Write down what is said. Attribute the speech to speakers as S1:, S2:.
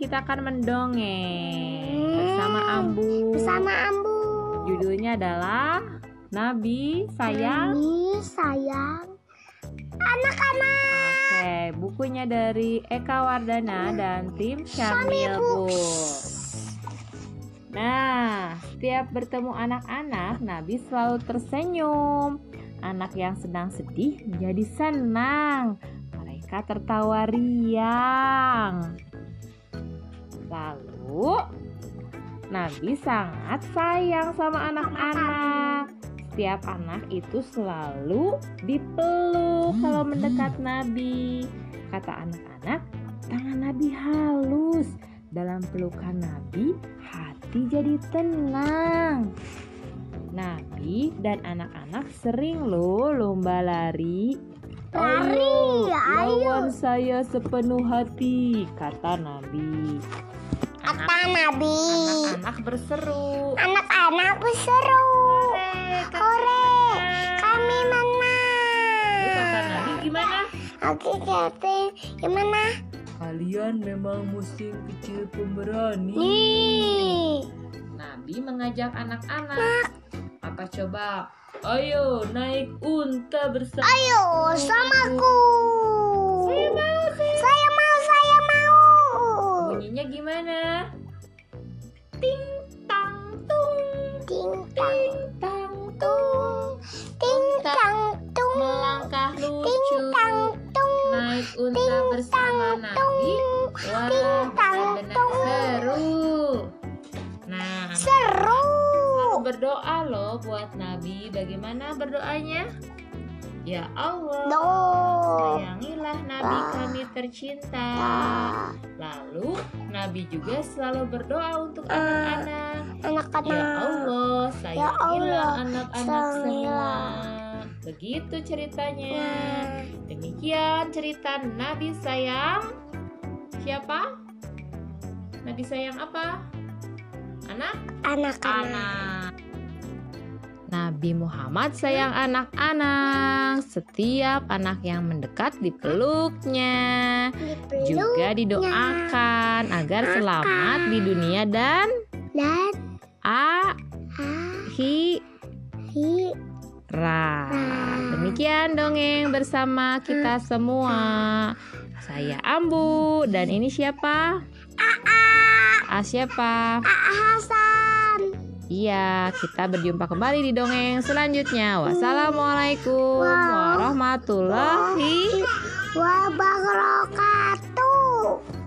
S1: kita akan mendongeng
S2: Hmm.
S1: bersama Ambu.
S2: Bersama Ambu.
S1: Judulnya adalah Nabi Sayang.
S2: Ini sayang. Anak-anak.
S1: Oke, bukunya dari Eka Wardana dan tim
S2: ya,
S1: Syamil Books. Nah, setiap bertemu anak-anak, Nabi selalu tersenyum. Anak yang sedang sedih menjadi senang. Mereka tertawa riang. Lalu, Nabi sangat sayang sama anak-anak. Setiap anak itu selalu dipeluk kalau mendekat Nabi. Kata anak-anak, tangan Nabi halus. Dalam pelukan Nabi, hati jadi tenang. Nabi dan anak-anak sering loh lomba lari.
S2: Lari, Iya, ayo.
S1: lawan saya sepenuh hati, kata Nabi. Anak-
S2: Kata Nabi.
S1: Anak-anak berseru.
S2: Anak-anak berseru. Hore, kami
S1: Terus kata
S2: menang.
S1: Nabi gimana?
S2: Oke, jadi gimana?
S1: Kalian memang musim kecil pemberani.
S2: Nih.
S1: Nabi mengajak anak-anak. Apa coba? Ayo naik unta bersama.
S2: Ayo, samaku. Saya mau, saya mau, saya mau.
S1: Bunyinya gimana? Ting tang tung
S2: Ting tang
S1: tang
S2: tung, ting tang tung,
S1: melangkah
S2: ting
S1: lucu
S2: tang tung,
S1: naik unta
S2: ting tang
S1: bersama
S2: tung,
S1: Nabi. Wah,
S2: ting tang
S1: benar
S2: tung.
S1: seru. Nah,
S2: Seru.
S1: berdoa loh buat Nabi. Bagaimana berdoanya? Ya Allah,
S2: Do.
S1: Ya sayangilah Nabi kami tercinta. Lalu Nabi juga selalu berdoa untuk
S2: Eh,
S1: anak-anak. Ya
S2: Anak-anak.
S1: Allah, sayangilah
S2: Allah,
S1: anak-anak semua.
S2: sayangilah.
S1: Begitu ceritanya.
S2: Nah,
S1: Demikian cerita Nabi sayang. Siapa? Nabi sayang apa? Anak?
S2: Anak-anak.
S1: anak. Nabi Muhammad sayang anak-anak. Setiap anak yang mendekat dipeluknya.
S2: Dipeluk
S1: Juga didoakan agar selamat di dunia dan
S2: dan
S1: akhirat.
S2: akhirat. Nah,
S1: Demikian dongeng bersama kita semua. Saya Ambu dan ini siapa? Aa. siapa?
S2: Hasan.
S1: Iya, kita berjumpa kembali di dongeng selanjutnya. Wassalamualaikum
S2: Wow.
S1: warahmatullahi
S2: Wabarakatuh.